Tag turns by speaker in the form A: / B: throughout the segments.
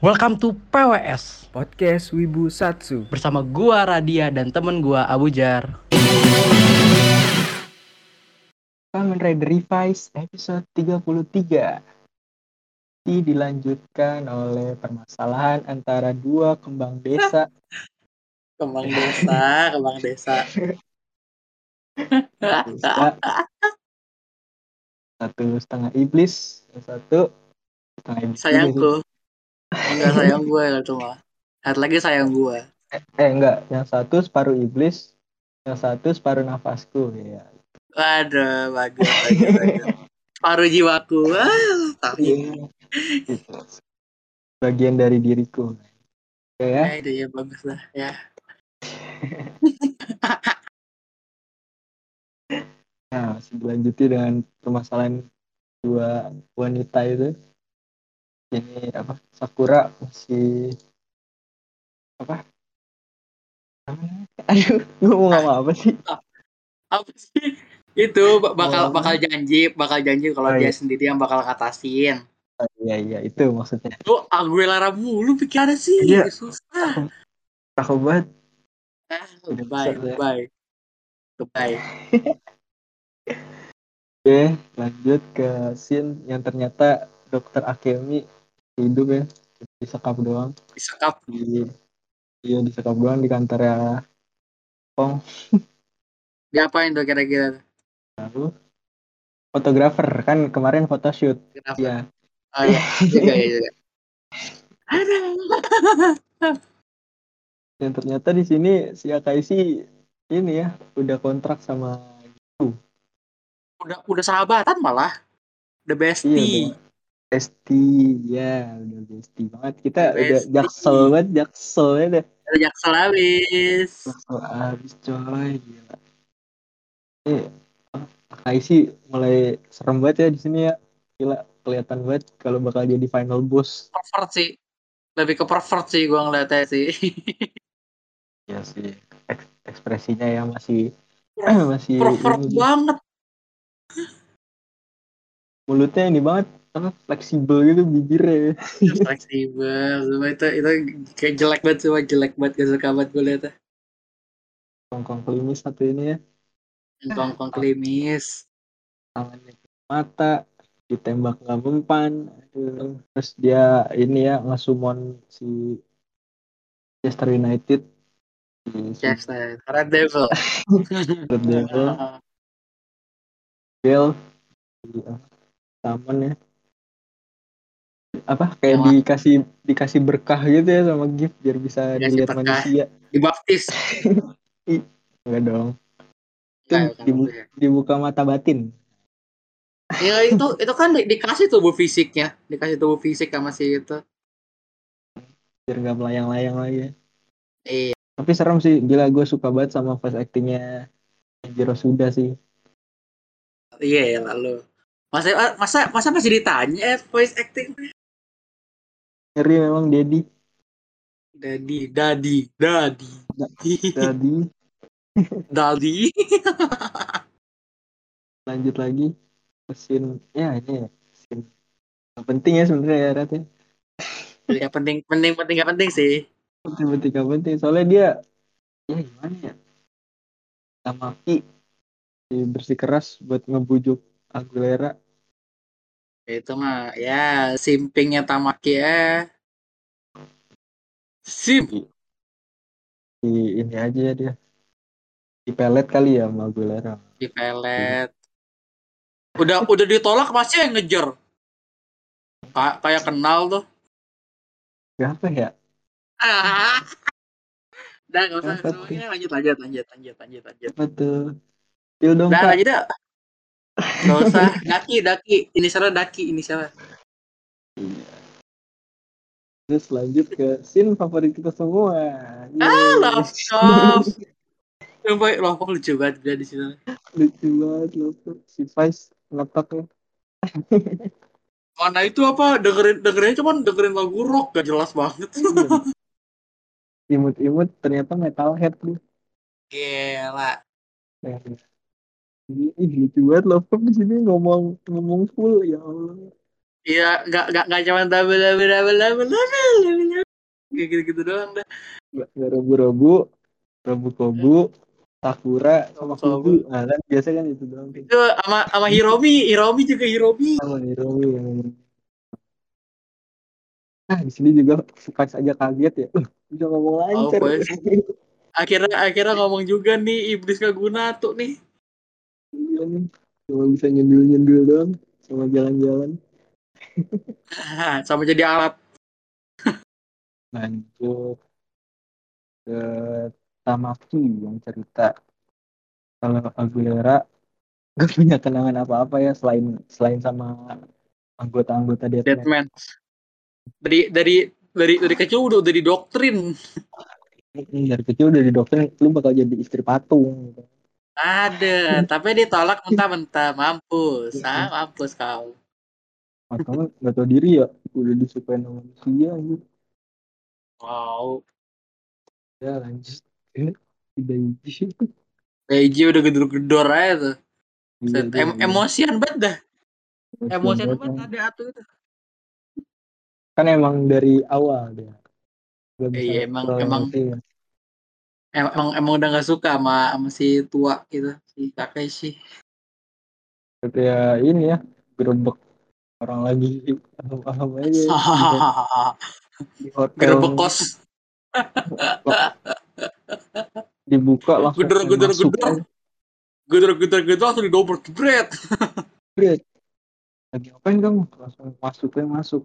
A: Welcome to PWS
B: Podcast Wibu Satsu.
A: bersama gua Radia dan temen gua Abu Jar.
C: Kamen Rider Revise episode 33. Ini dilanjutkan oleh permasalahan antara dua kembang desa.
D: Kembang desa, kembang desa.
C: desa. Satu setengah iblis, yang satu setengah iblis. juga
D: sayangku. Enggak sayang gue itu mah. Satu lagi sayang gue.
C: sih. Eh enggak, yang satu separuh iblis, yang satu separuh nafasku. Ya.
D: Waduh, bagus, bagus, bagus. Paruh jiwaku. Wah, tapi
C: iya. Gitu. Bagian dari diriku. Oke
D: ya,
C: ya.
D: itu ya bagus lah ya.
C: Nah, masih dilanjuti dengan permasalahan dua wanita itu. Ini apa? Sakura masih apa? Apa namanya? Aduh, gue mau ngomong apa sih?
D: Apa sih? Itu ba- bakal
C: Oh.
D: bakal janji, bakal janji kalau
C: Oh,
D: dia
C: iya.
D: sendiri yang bakal katasin.
C: Oh, Iya, iya, itu maksudnya.
D: Lu Aguilera mulu pikirannya sih,
C: Iya.
D: susah.
C: Takut banget.
D: Ah,
C: Udah
D: Bye,
C: besar, ya.
D: bye. Bye.
C: Oke, lanjut ke scene yang ternyata Dokter Akemi hidup ya. Disekap doang.
D: Disekap
C: Di, iya, disekap doang di kantor ya.
D: diapain tuh kira-kira?
C: Lalu, fotografer. Kan kemarin photoshoot.
D: Kenapa?
C: Iya.
D: Oh iya, juga ya juga. Ada.
C: Dan ternyata di sini si Akaisi ini ya udah kontrak sama
D: Udah udah sahabatan malah. The
C: Iya,
D: bestie.
C: Besti ya udah Besti banget kita udah
D: Besti.
C: jaksel banget jaksel ya deh
D: Ada jaksel habis.
C: jaksel abis coy gila eh Akaisi mulai serem banget ya di sini ya gila kelihatan banget kalau bakal jadi final boss
D: Pervert sih. Lebih ke pervert sih gua ngeliatnya sih.
C: ya sih eks- ekspresinya ya masih
D: Pervert
C: masih
D: pervert
C: ini,
D: banget.
C: mulutnya ini banget apa fleksibel gitu bibirnya ya.
D: Fleksibel. Cuma itu itu kayak jelek banget semua jelek banget gak suka banget gue liatnya.
C: kongkong klimis satu ini ya
D: Kongkong
C: Ah.
D: klimis.
C: tangannya ke mata ditembak nggak mempan Aduh. terus dia ini ya nge-summon si Chester United si si
D: Chester. Red Devil.
C: Red Devil Bill di taman ya apa kayak
D: Yang-
C: dikasih dikasih berkah gitu ya sama gift biar bisa
D: Dikasih
C: dilihat
D: berkah.
C: manusia
D: Dibaptis.
C: enggak dong itu
D: Nah, bukan
C: dibu-
D: itu ya.
C: dibuka mata batin
D: Ya itu itu kan di- dikasih tubuh fisiknya, dikasih tubuh fisik sama si itu.
C: biar nggak melayang-layang lagi ya.
D: Iya.
C: tapi serem sih gila gue suka banget sama voice actingnya Jiro Suda sih
D: Iya ya lalu. Masa masa masa masih ditanya eh, voice acting
C: Ngeri memang Dedi
D: Dadi Dadi Dadi
C: tadi
D: Dadi
C: lanjut lagi mesin ya ini ya scene yang penting ya sebenarnya ya Rat ya
D: ya penting penting penting gak penting sih
C: penting penting gak penting soalnya dia ya gimana ya sama Ki dia bersikeras buat ngebujuk Aguilera
D: itu mah ya simpingnya Tamaki ya sim
C: di ini aja ya dia dipelet kali ya sama Aguilera
D: di pelet udah udah ditolak masih yang ngejar Ka- kayak kenal tuh
C: gak apa ya
D: ah. Udah gak usah
C: Apa
D: semuanya lanjut lanjut lanjut lanjut lanjut lanjut
C: apa tuh Til dong
D: Udah
C: Kak.
D: Nah, lanjut dah Gak usah Daki Daki Ini salah Daki Ini salah
C: terus lanjut ke scene favorit kita semua
D: Ah,
C: Yeay.
D: love shop. Yang baik loh, kok lucu banget dia di situ.
C: lucu banget loh tuh. si Vice ya. ngetoknya
D: Mana itu apa? Dengerin dengerin cuman dengerin lagu rock gak jelas banget.
C: imut-imut ternyata metalhead tuh Nah,
D: Gila.
C: gitu ini lucu banget loh di sini ngomong ngomong full ya Allah
D: Iya, nggak nggak nggak cuma double double double double double double. Kayak gitu-gitu doang dah.
C: Nggak robu-robu, robu kobu, sakura, sama
D: Kobu.
C: kobu. Nah, kan biasa kan itu doang. Kan.
D: Itu sama sama Hiromi, Hiromi juga Hiromi.
C: Sama Hiromi yang ngomong. Nah, di sini juga suka saja kaget ya. Uh, Udah ngomong
D: Oh,
C: lancar.
D: boy. Akhirnya akhirnya ngomong juga nih iblis gak guna tuh nih.
C: Iya nih. Cuma bisa nyendul-nyendul doang sama jalan-jalan.
D: sama jadi alat.
C: Lanjut ke Tamaki yang cerita kalau Aguilera gak punya kenangan apa-apa ya selain selain sama anggota-anggota Deathmatch.
D: Deadman. Dari dari dari dari kecil udah udah didoktrin.
C: Ini dari kecil udah didoktrin lu bakal jadi istri patung gitu.
D: Ada, tapi ditolak mentah-mentah, mampus,
C: Iya.
D: ah, mampus kau.
C: Atau nggak tahu diri ya udah disukain sama manusia gitu.
D: Wow,
C: Ya lanjut. Eh, Tidak izin.
D: Eiji udah gedor-gedor aja tuh.
C: Iya,
D: Set,
C: iya,
D: em-
C: iya.
D: emosian banget dah,
C: Emosian
D: emosian
C: banget,
D: banget
C: kan.
D: ada atuh itu.
C: Kan emang dari awal dia. Gak bisa
D: Iya, emang-
C: kontrol
D: emang-
C: emosinya.
D: Emang emang udah nggak suka sama, sama si tua gitu, si Takeshi.
C: Kayak ini ya gerobak orang lagi paham aja di hotel
D: Gerobak kos,
C: dibuka langsung
D: Gedor,
C: saya
D: gedor,
C: masuk
D: gedor.
C: aja.
D: gedor-gedor-gedor langsung didobrak, jebret.
C: lagi ngapain kamu langsung masuk aja, masuk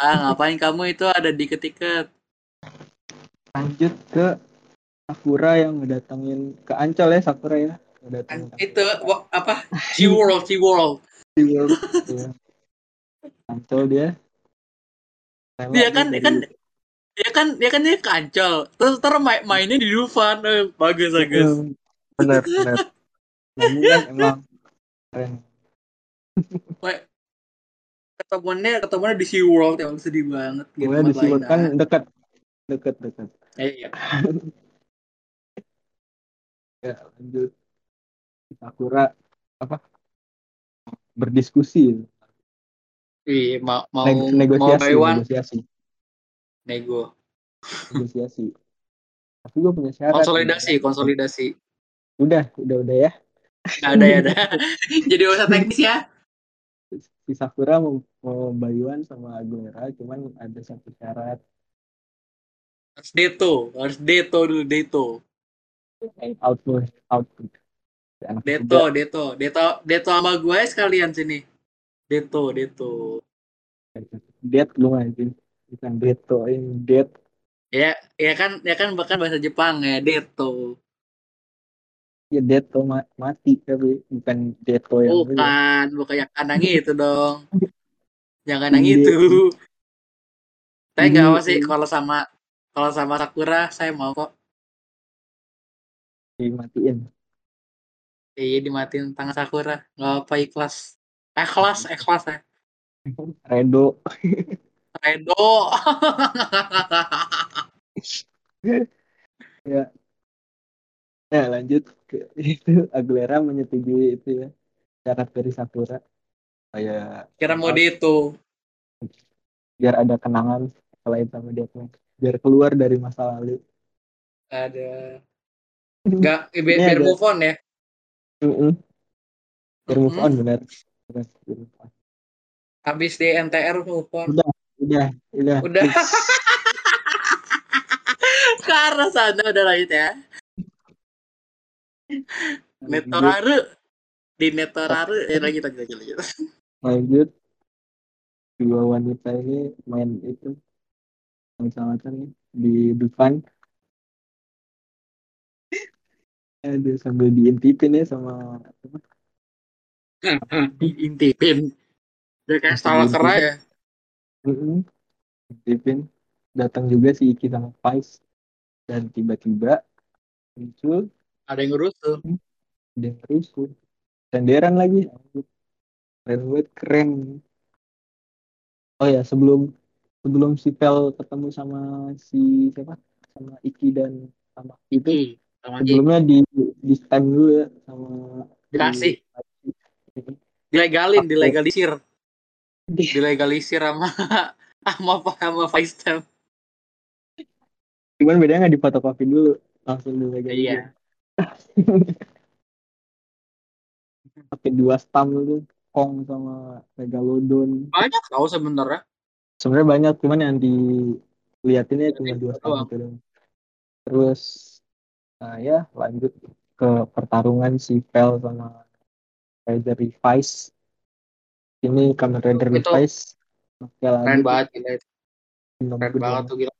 D: Ah, ngapain kamu itu ada di ketiket?
C: lanjut ke Sakura yang ngedatengin ke Ancol ya Sakura ya ngedatengin
D: Itu wa- apa? Sea World, Sea World.
C: Di World, ya. Ancol dia Lewat
D: Dia kan-
C: dari-
D: kan Dia kan dia kan dia kancol. Terus ntar main, mainnya di Dufan. Eh, bagus bagus.
C: Hmm, benar benar Kamu kan emang keren
D: Ketemuannya ketemuannya di Sea World emang sedih banget gitu.
C: Gimana di
D: Mas
C: Seaworld
D: Laila.
C: kan dekat dekat dekat
D: Eh, iya.
C: ya lanjut Sakura apa berdiskusi
D: Iya, mau mau
C: Neg-
D: mau
C: negosiasi
D: buy one
C: negosiasi
D: nego.
C: negosiasi tapi gue punya syarat
D: Konsolidasi, konsolidasi.
C: udah udah udah ya
D: Nggak ada ya ada. Jadi usah teknis ya.
C: si Sakura mau, mau bayuan sama Aguilera cuman ada satu syarat
D: Harus deto, harus deto dulu E deto.
C: output output Si anak
D: Deto,
C: muda,
D: deto, deto, deto E sama gue sekalian sini. E Deto, deto.
C: dead lu anjing bukan deto eh, ini dead
D: Ya, ya kan, ya kan bahkan bahasa Jepang ya, deto.
C: ya deto ma- mati tapi bukan deto yang
D: Bukan, bukan yang kanang itu dong. Jangan yang
C: Iya.
D: itu. Saya nggak
C: Iya,
D: apa sih
C: iya.
D: kalau sama kalau sama Sakura saya mau kok
C: dimatiin
D: iya dimatiin tangan Sakura nggak apa ikhlas ikhlas ikhlas ya
C: Redo
D: redo
C: ya lanjut ke itu Aguilera menyetujui itu ya syarat dari Sakura kayak
D: kira mau deto
C: biar ada kenangan selain sama Deathmatch biar keluar dari masa lalu
D: ada
C: Iya.
D: nggak bi-
C: Ini
D: biar
C: ada.
D: move on ya
C: Mm-mm. biar move
D: Mm-mm.
C: on benar Benar, biar move on.
D: habis di NTR move on
C: udah udah
D: udah ke arah sana udah lanjut ya
C: lanjut,
D: Netoraru di Netoraru eh lagi lagi lagi lagi
C: lanjut dua wanita ini main itu sama-sama di depan Aduh, sambil diintipin ya sama
D: diintipin udah kayak salah kerai ya
C: Mm-mm. Pipin datang juga si Iki sama Pais dan tiba-tiba muncul
D: ada yang ngurus tuh
C: dan rusuh senderan lagi keren banget keren oh ya sebelum sebelum si Pel ketemu sama si siapa sama Iki dan sama itu
D: Ih, sama Ki.
C: sebelumnya di di stand dulu ya sama
D: dikasih dilegalin dilegalisir dilegalisir sama sama sama FaceTime.
C: Cuman bedanya nggak difotokopi dulu, langsung dilegalin.
D: Iya.
C: Pakai dua stam itu, Kong sama Megalodon.
D: Banyak tahu sebenarnya.
C: Sebenarnya banyak, cuman yang dilihatinnya cuma dua
D: doang.
C: stam itu doang. Terus, nah ya lanjut ke pertarungan si Fel sama Rider Revice. Ini Kamen Rider
D: Itu- itu
C: Revice. Oke,
D: Keren
C: lanjut.
D: banget gila itu.
C: Nom
D: Keren
C: gede
D: banget tuh gila.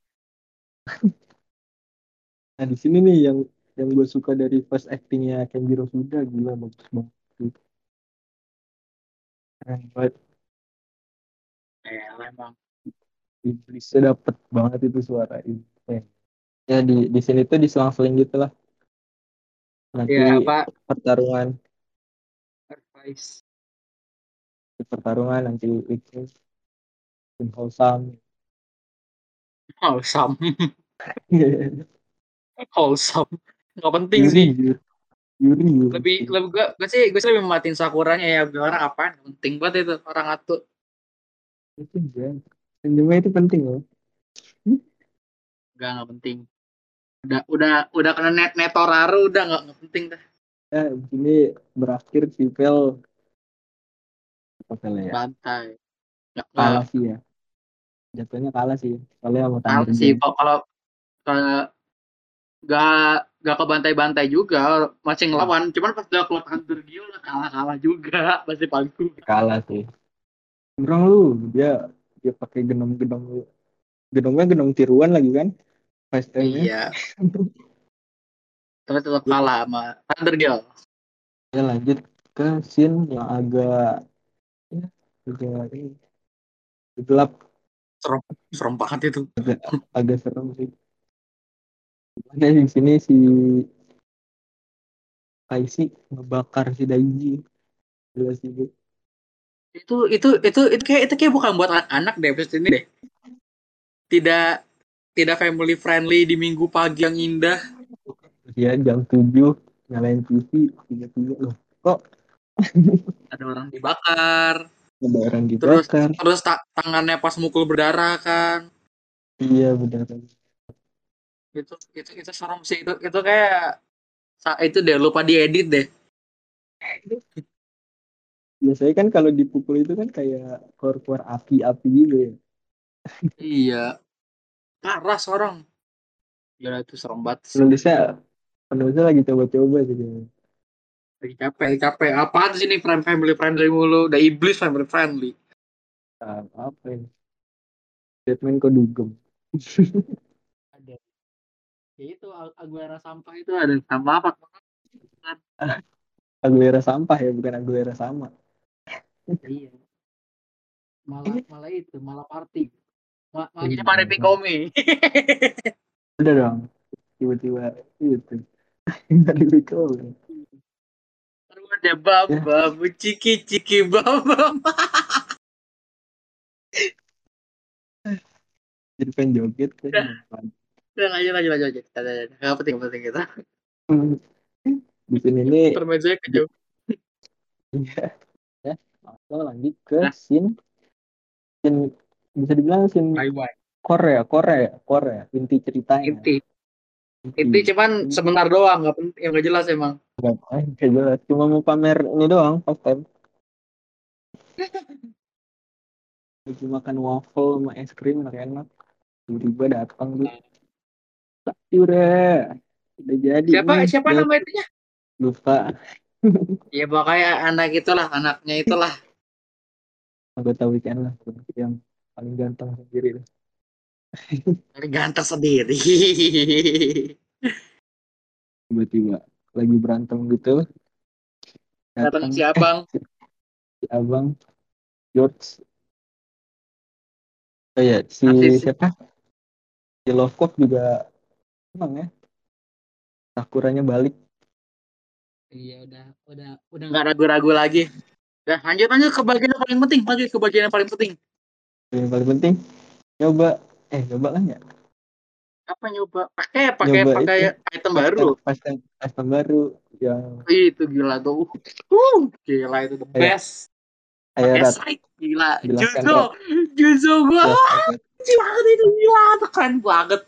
C: Nah di sini nih yang yang gue suka dari first actingnya Kenjiro Suda gila bagus banget. Keren banget.
D: Eh, emang.
C: Iblisnya dapet banget itu suara itu. Ya di di sini tuh diselang-seling gitu lah. Nanti
D: Ya apa?
C: pertarungan
D: Advice.
C: di pertarungan nanti itu Kim Ho Sam.
D: Wholesome. Wholesome. Nggak penting
C: Yuri,
D: sih.
C: Yuri, Yuri, Yuri.
D: Lebih lebih gue, gue sih gue sih lebih matiin sakuranya ya. Biar Orang apaan? Nggak Penting banget itu orang atuh.
C: itu ya. Senyumnya itu penting loh.
D: Enggak nggak penting. Udah udah udah kena net netoraru udah nggak nggak penting dah.
C: Eh, ini berakhir si Pel. Apa Pel ya?
D: Bantai. Nggak nggak-
C: kalah sih ya jatuhnya kalah sih soalnya sama
D: Tahu
C: Tanjiro
D: sih kalau kalau kalau nggak nggak ke bantai-bantai juga masih ngelawan cuman pas udah keluar Hunter gila kalah-kalah juga pasti pangku
C: kalah sih kurang lu dia dia pakai genom genom lu genomnya genom tiruan lagi kan Fast
D: iya
C: time-nya.
D: tapi tetap kalah sama Thunder Girl
C: ya lanjut ke scene yang agak ya, agak ini, gelap
D: serem banget itu
C: agak serem sih Mana di sini si Kaisi ngebakar si Daiji jelas sih
D: itu itu itu itu kayak itu kayak bukan buat anak-anak deh episode ini deh tidak tidak family friendly di minggu pagi yang indah
C: ya jam 7 nyalain TV tiga tiga loh
D: ada orang dibakar
C: lebaran
D: terus
C: dibakar
D: terus ta- tangannya pas mukul berdarah kan
C: iya benar
D: itu gitu. itu itu serem sih itu itu kayak sa- itu deh lupa diedit deh
C: biasanya kan kalau dipukul itu kan kayak keluar-keluar api-api gitu ya
D: iya parah seorang Gila itu serem banget sih.
C: penulisnya penulisnya lagi coba-coba gitu ya. sih kayaknya.
D: lagi capek lagi capek apaan sih ini friend family friendly mulu udah iblis family friendly
C: Ah, apa ya Batman kok dugem
D: ya itu Al- Aguera sampah itu ada sama apa
C: Aguilera sampah ya bukan Aguilera sama
D: iya malah malah itu malah party Ma- malah
C: Iya.
D: jadi party komi
C: udah dong tiba-tiba itu dari Biko
D: terus ada bam bam ciki ciki bam bam
C: jadi pengen joget kan
D: udah lanjut lanjut lanjut lanjut Udah, udah, udah. nggak penting nggak penting kita
C: di sini nih
D: permainan kejauh
C: Iya. ya, langsung lanjut ke
D: Nah.
C: scene scene bisa dibilang scene
D: bye bye
C: Korea, Korea, Korea, inti ceritanya.
D: inti inti
C: Hmm.
D: cuman sebentar doang nggak penting nggak jelas emang
C: Nggak main, nggak jelas. Cuma mau pamer ini doang, first time. Lagi makan waffle sama es krim enak-enak. Tiba-tiba datang tuh. Sakura. Udah jadi.
D: siapa
C: nih.
D: siapa
C: Ya,
D: nama itunya
C: Lupa.
D: ya pokoknya anak itulah anaknya itulah
C: Nggak tahu weekend lah. Yang paling ganteng sendiri. dah.
D: dari ganteng sendiri
C: Tiba-tiba lagi berantem gitu.
D: datang si abang
C: si abang George oh ya si
D: Asis.
C: siapa si Lovecraft juga emang ya Sakuranya balik
D: iya udah udah udah nggak ragu-ragu lagi udah lanjut lanjut ke bagian yang paling penting lanjut ke bagian yang paling penting
C: yang paling penting nyoba eh nyoba kan ya
D: apa nyoba pakai pakai
C: Nyoba
D: pakai item baru
C: pas time pas time baru yang
D: Ih, itu gila tuh uh, gila itu the
C: Iya.
D: best pakai
C: Rat. kan,
D: side gila
C: Jelaskan,
D: Juzo Juzo gua kecil banget itu gila itu keren banget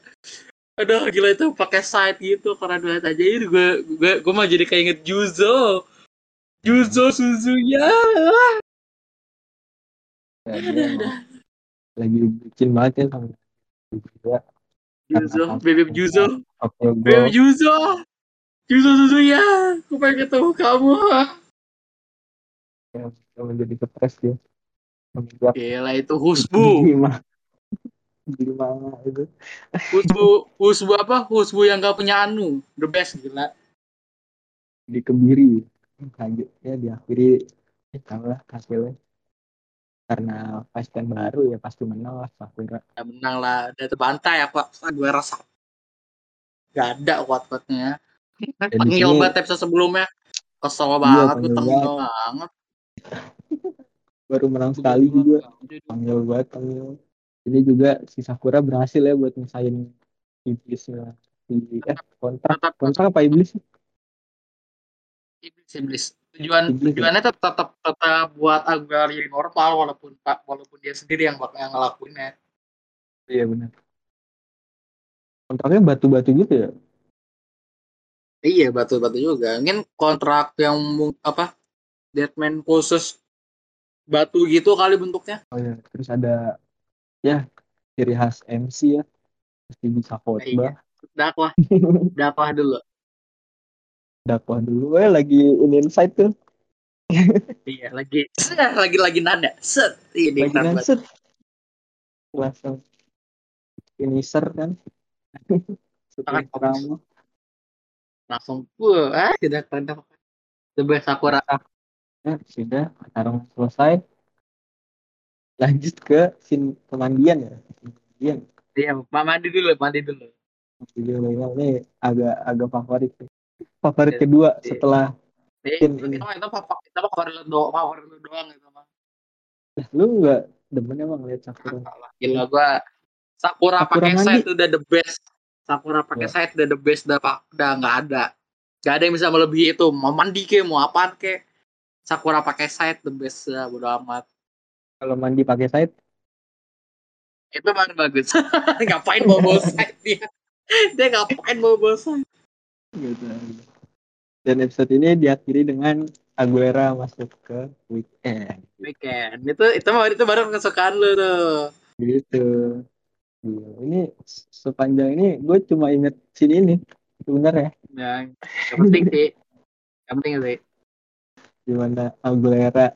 D: aduh gila itu pakai side gitu keren banget aja itu gue gue gue mah jadi keinget Juzo Juzo Suzuya
C: Ya, dia emang lagi bikin banget ya sama juga
D: Juzo bebek Juzo
C: Tokyo
D: Beb
C: Ghoul
D: Juzo Juzo Suzuya Aku pengen ketemu kamu
C: yang yang menjadi kepres dia menjadi
D: Gila itu Husbu
C: di mana itu
D: Husbu Husbu apa Husbu yang gak punya Anu The best gila
C: di kebiri lanjut ya diakhiri ya tau lah hasilnya karena pasien baru ya pasti menang lah Sakura
D: Ya menang lah Udah terbantai aku Gue rasa Gak ada kuat-kuatnya
C: di
D: Tengil
C: sini-
D: banget Kan episode sebelumnya Kesel
C: Iya,
D: banget Gue
C: tengil
D: tengil banget
C: baru menang sekali juga panggil banget panggil ini juga si Sakura berhasil ya buat ngesain iblisnya si eh kontrak
D: Tetap
C: kontrak apa iblis sih?
D: iblis iblis tujuan
C: Iblis, ya?
D: tujuannya tetap tetap tetap buat Aguilar jadi normal walaupun walaupun dia sendiri yang bak- yang ngelakuinnya
C: iya benar kontraknya batu-batu gitu ya
D: iya batu batu juga mungkin kontrak yang mu- apa Deadman khusus batu gitu kali bentuknya
C: oh ya terus ada ya ciri khas MC ya pasti bisa khotbah
D: dakwah dakwah dulu
C: dakwah dulu eh lagi in insight tuh
D: iya lagi Set, lagi lagi nada set iya, ini
C: lagi
D: keren banget.
C: nanset langsung finisher kan setelah
D: Sangat fokus.
C: kamu
D: langsung wah ah, tidak keren apa the best Sakura
C: Ya, sudah, tarung selesai. Lanjut ke scene pemandian ya. Pemandian.
D: iya ma- mandi dulu mandi dulu
C: Video lainnya ini agak agak favorit. nih. Favorit
D: Ya,
C: kedua
D: jadi-
C: setelah
D: Eh, itu
C: Ini.
D: itu mah- itu mah itu mah favorit lu doang favorit lu doang itu mah
C: Lah, lu nggak demen emang lihat Sakura.
D: Alah, Gila gua Sakura, Iya.
C: Sakura
D: pakai
C: mandi.
D: side udah the best. Sakura pakai
C: Ya.
D: side udah the best udah pak udah nggak ada. Gak ada yang bisa melebihi itu. Mau mandi ke, mau apaan ke. Sakura pakai side the best ya, bodo amat.
C: Kalau mandi pakai side,
D: Itu emang bagus. ngapain mau bawa side dia? Dia ngapain mau bawa side?
C: gitu. Dan episode ini diakhiri dengan Aguilera masuk ke weekend.
D: Weekend. Itu itu mah itu baru kesukaan lu tuh.
C: Gitu. Iya, Ini se- sepanjang ini gue cuma inget scene ini. Sebenarnya
D: Yang yang penting sih. Yang penting sih.
C: gimana Aguilera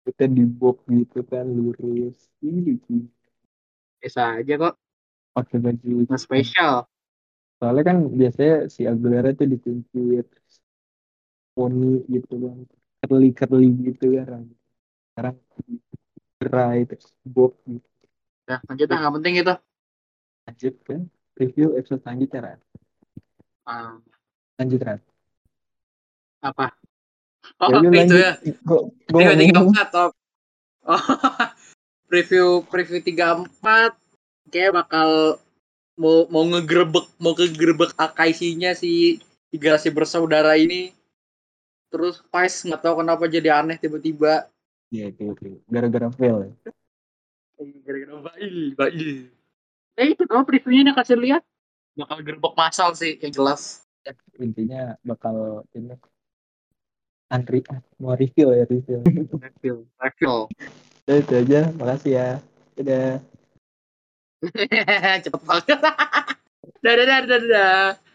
C: kita dibob gitu kan lurus ini
D: Bisa aja kok.
C: pakai baju
D: Nggak spesial.
C: soalnya kan biasanya si Aguilera tuh dikunci poni gitu kan curly curly gitu kan rambut. sekarang cerai terus bob gitu
D: Nah, lanjut lah. Nggak penting itu.
C: lanjut kan review episode selanjutnya Ran
D: Ah,
C: lanjut Ran
D: apa? Oh,
C: Ya, lu
D: itu
C: lanjut.
D: ya.
C: Gua- gua
D: Preview tiga
C: ngomong.
D: empat top. Oh, preview preview tiga empat kayak bakal mau mau ngegerebek mau ngegerebek akaisinya si tiga si bersaudara ini. Terus Pais nggak tahu kenapa jadi aneh tiba-tiba.
C: Iya, itu, itu. gara-gara fail ya.
D: Gara-gara bayi, bayi. Eh itu kalau previewnya yang kasih lihat bakal gerbek masal sih yang jelas.
C: intinya bakal ini antri mau review ya review
D: Refill, refill.
C: Udah, itu aja makasih ya udah
D: Cepet banget. Dadah, dadah, dadah.